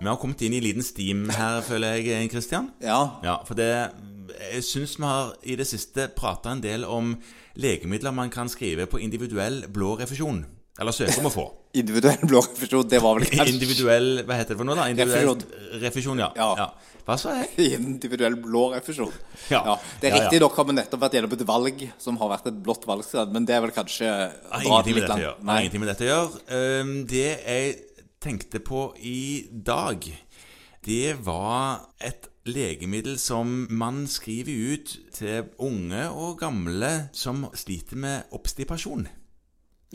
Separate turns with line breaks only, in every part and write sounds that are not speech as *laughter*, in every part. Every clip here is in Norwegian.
Vi har kommet inn i en liten steam her, føler jeg, Kristian.
Ja.
Ja, for det Jeg syns vi har i det siste prata en del om legemidler man kan skrive på individuell blå refusjon. Eller søke om å få. *laughs*
Individuell blå refusjon, det var vel kanskje
Individuell Hva heter det for noe, da? Individuell refusjon, ja.
Ja.
Hva sa jeg?
*laughs* Individuell blå refusjon.
Ja.
Det er
Ja,
riktig,
ja.
dere har vi nettopp vært gjennom et valg som har vært et blått valgsted, men det er vel kanskje å
Har
dra
ingenting med
det litt
dette å
langt.
gjøre. Har ingenting med dette å gjøre. Ehm, Det jeg tenkte på i dag, det var et legemiddel som man skriver ut til unge og gamle som sliter med obstipasjon.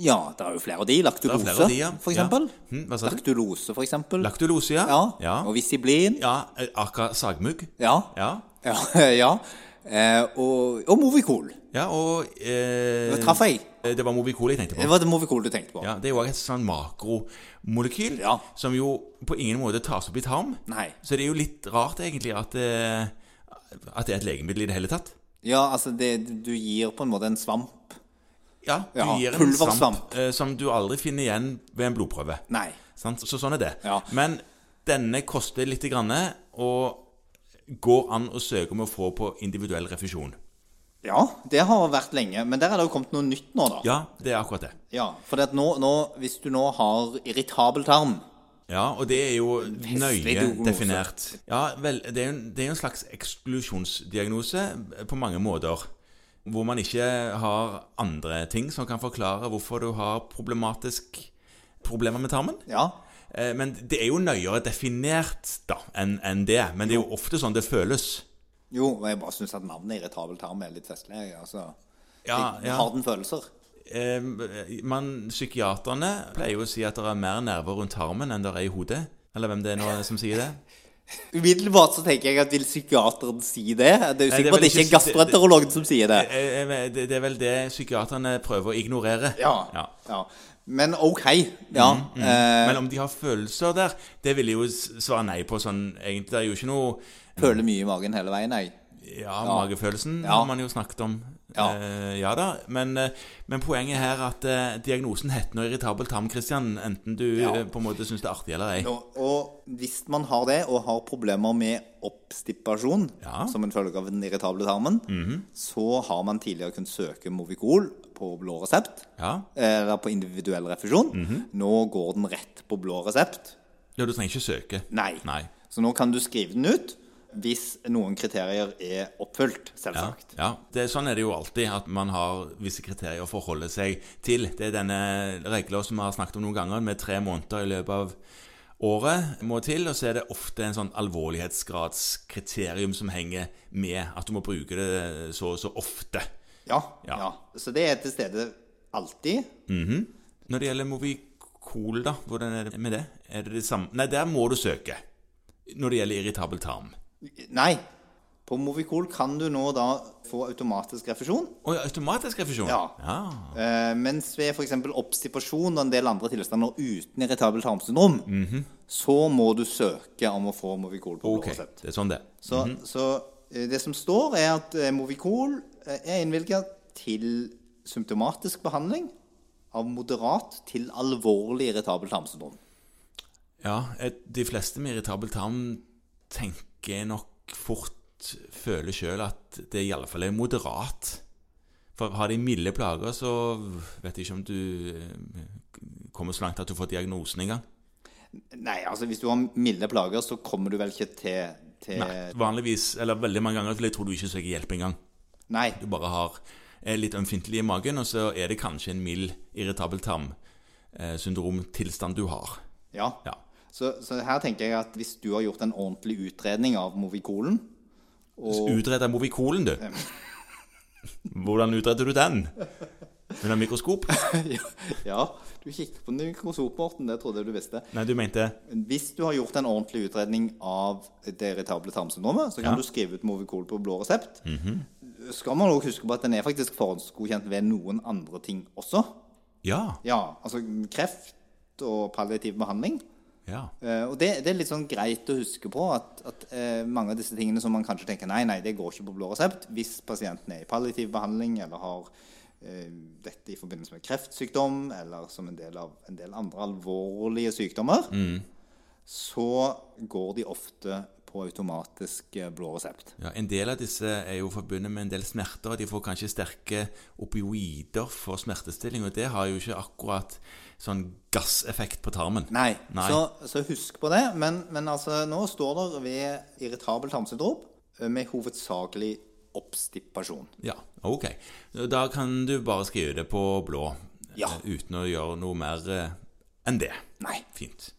Ja, det er jo flere av de.
Det er
Laktulose,
flere av de, ja.
for eksempel.
Ja. Hm, hva sa du?
Laktulose, for eksempel.
Laktulose, ja.
Ja.
ja.
Og visiblin.
ja Aka sagmugg.
Ja.
Ja.
Ja. *laughs* ja. Eh, og, og Movicol.
ja, og eh,
Det traff jeg.
Det var Movicol jeg tenkte på.
Det var det Movicol du tenkte på.
Ja, Det er jo også et sånn makromolekyl
Ja.
som jo på ingen måte tas opp i tarm.
Nei.
Så det er jo litt rart egentlig at, eh, at det er et legemiddel i det hele tatt.
Ja, altså, det, du gir på en måte en svamp.
Ja, du
Ja,
gir en
pulversvamp.
svamp eh, som du aldri finner igjen ved en blodprøve.
Nei.
Sant? Så sånn er det.
Ja.
Men denne koster lite grann, og går an å søke om å få på individuell refusjon.
Ja, det har vært lenge, men der er det jo kommet noe nytt nå, da.
Ja, det er akkurat det.
Ja, for det at nå, nå, hvis du nå har irritabel tarm
Ja, og det er jo nøye
diagnose.
definert. Ja, vel, det er jo en, det er jo en slags eksklusjonsdiagnose eh, på mange måter. Hvor man ikke har andre ting som kan forklare hvorfor du har problematisk problemer med tarmen.
Ja,
Eh, Men det er jo nøyere definert da, enn enn det. Men det er jo ofte sånn det føles.
jo, og jeg bare syns at navnet irritabel tarm er litt festlig. jeg, Altså.
Ja,
Jeg
ja.
Har den følelser?
Eh, Man, psykiaterne pleier jo å si at det er mer nerver rundt tarmen enn det er i hodet. Eller hvem det er nå som sier det.
Umiddelbart så tenker jeg at vil psykiateren si det?
Nei, det
Det er jo
er
sikkert
vel
det ikke er
ikke- det- det-
gastroenterologen som sier det.
Eh, eh, Det det er vel det psykiaterne prøver å ignorere.
Ja.
Ja.
ja. Men OK. Ja. eh,
Men om de har følelser der, det vil jeg jo s- svare nei på. Sånn, egentlig det er jo ikke noe
føler mye i magen hele veien, jeg.
Ja, magefølelsen
Ja.
har man jo snakket om.
Ja.
Eh, ja da. Men, eh, men poenget her er at eh, diagnosen heter noe irritabel tarm, Christian. Enten du
Ja.
eh, på en måte syns det er artig eller ei.
Og, og hvis man har det, og har problemer med oppstipasjon
Ja.
som en følge av den irritable tarmen, så har man tidligere kunnet søke Movicol på blå resept.
Ja.
Eller eh, på individuell refusjon. Nå går den rett på blå resept.
ja, du trenger ikke søke.
Nei.
Nei.
Så nå kan du skrive den ut hvis noen kriterier er oppfylt,
Ja,
selvsagt.
ja. Det, sånn er det jo alltid, at man har visse kriterier å forholde seg til. Det er denne regla som vi har snakket om noen ganger, med tre måneder i løpet av året må til. Og så er det ofte en sånn alvorlighetsgradskriterium som henger med, at du må bruke det så og så ofte.
Ja.
Ja.
ja. Så det er til stede alltid.
Når det gjelder Movicol, da, hvordan er det med det? Er det det samme Nei, der må du søke. Når det gjelder irritabel tarm.
Nei. På Movicol kan du nå da få automatisk refusjon.
Å ja, automatisk refusjon? Ah,
Ja.
ja.
Eh, mens ved f.eks. obstipasjon og en del andre tilstander uten irritabelt tarmsyndrom, så må du søke om å få Movicol på
Ok.
blå resept.
Det er sånn det.
Så, så eh, det som står, er at eh, Movicol eh, er innvilga til symptomatisk behandling av moderat til alvorlig irritabelt tarmsyndrom.
Ja, et, de fleste med irritabel tarm tenker nok fort, føler sjøl at det i alle fall er moderat. For har de milde plager, så vet jeg ikke om du eh, kommer så langt at du får diagnosen engang.
Nei, altså hvis du har milde plager, så kommer du vel ikke til, til
Nei, Vanligvis, eller veldig mange ganger, vil jeg tro du ikke søker hjelp engang.
Nei.
Du bare har er litt ømfintlig i magen, og så er det kanskje en mild irritabel tarmsyndromtilstand du har.
Ja.
Ja.
Så, så her tenker jeg at hvis du har gjort en ordentlig utredning av Movicolen
Utrede Movicolen, du. Hvordan utreder du den? Under mikroskop?
Ja, du kikker på mikroskop, Morten. Det trodde jeg du visste.
Nei, du mente
Hvis du har gjort en ordentlig utredning av det irritable tarmsyndromet, så kan
Ja.
du skrive ut Movicol på blå resept. Skal man også huske på at den er faktisk forhåndsgodkjent ved noen andre ting også.
Ja.
Ja, altså kreft og palliativ behandling.
ja.
Eh, og det, det er litt sånn greit å huske på at, at eh, mange av disse tingene som man kanskje tenker nei, nei, det går ikke på blå resept, hvis pasienten er i palliativ behandling eller har eh, dette i forbindelse med kreftsykdom eller som en del av en del andre alvorlige sykdommer, så går de ofte på automatisk eh, blå resept.
Ja, en del av disse er jo forbundet med en del smerter, og de får kanskje sterke opioider for smertestilling, og det har jo ikke akkurat sånn gasseffekt på tarmen.
Nei.
Nei.
Så, så husk på det. Men, men altså, nå står det ved irritabel tarmsyndrom eh, med hovedsakelig oppstippasjon.
Ja, ok. Da kan du bare skrive det på blå,
Ja.
eh, uten å gjøre noe mer eh, enn det.
Nei.
Fint.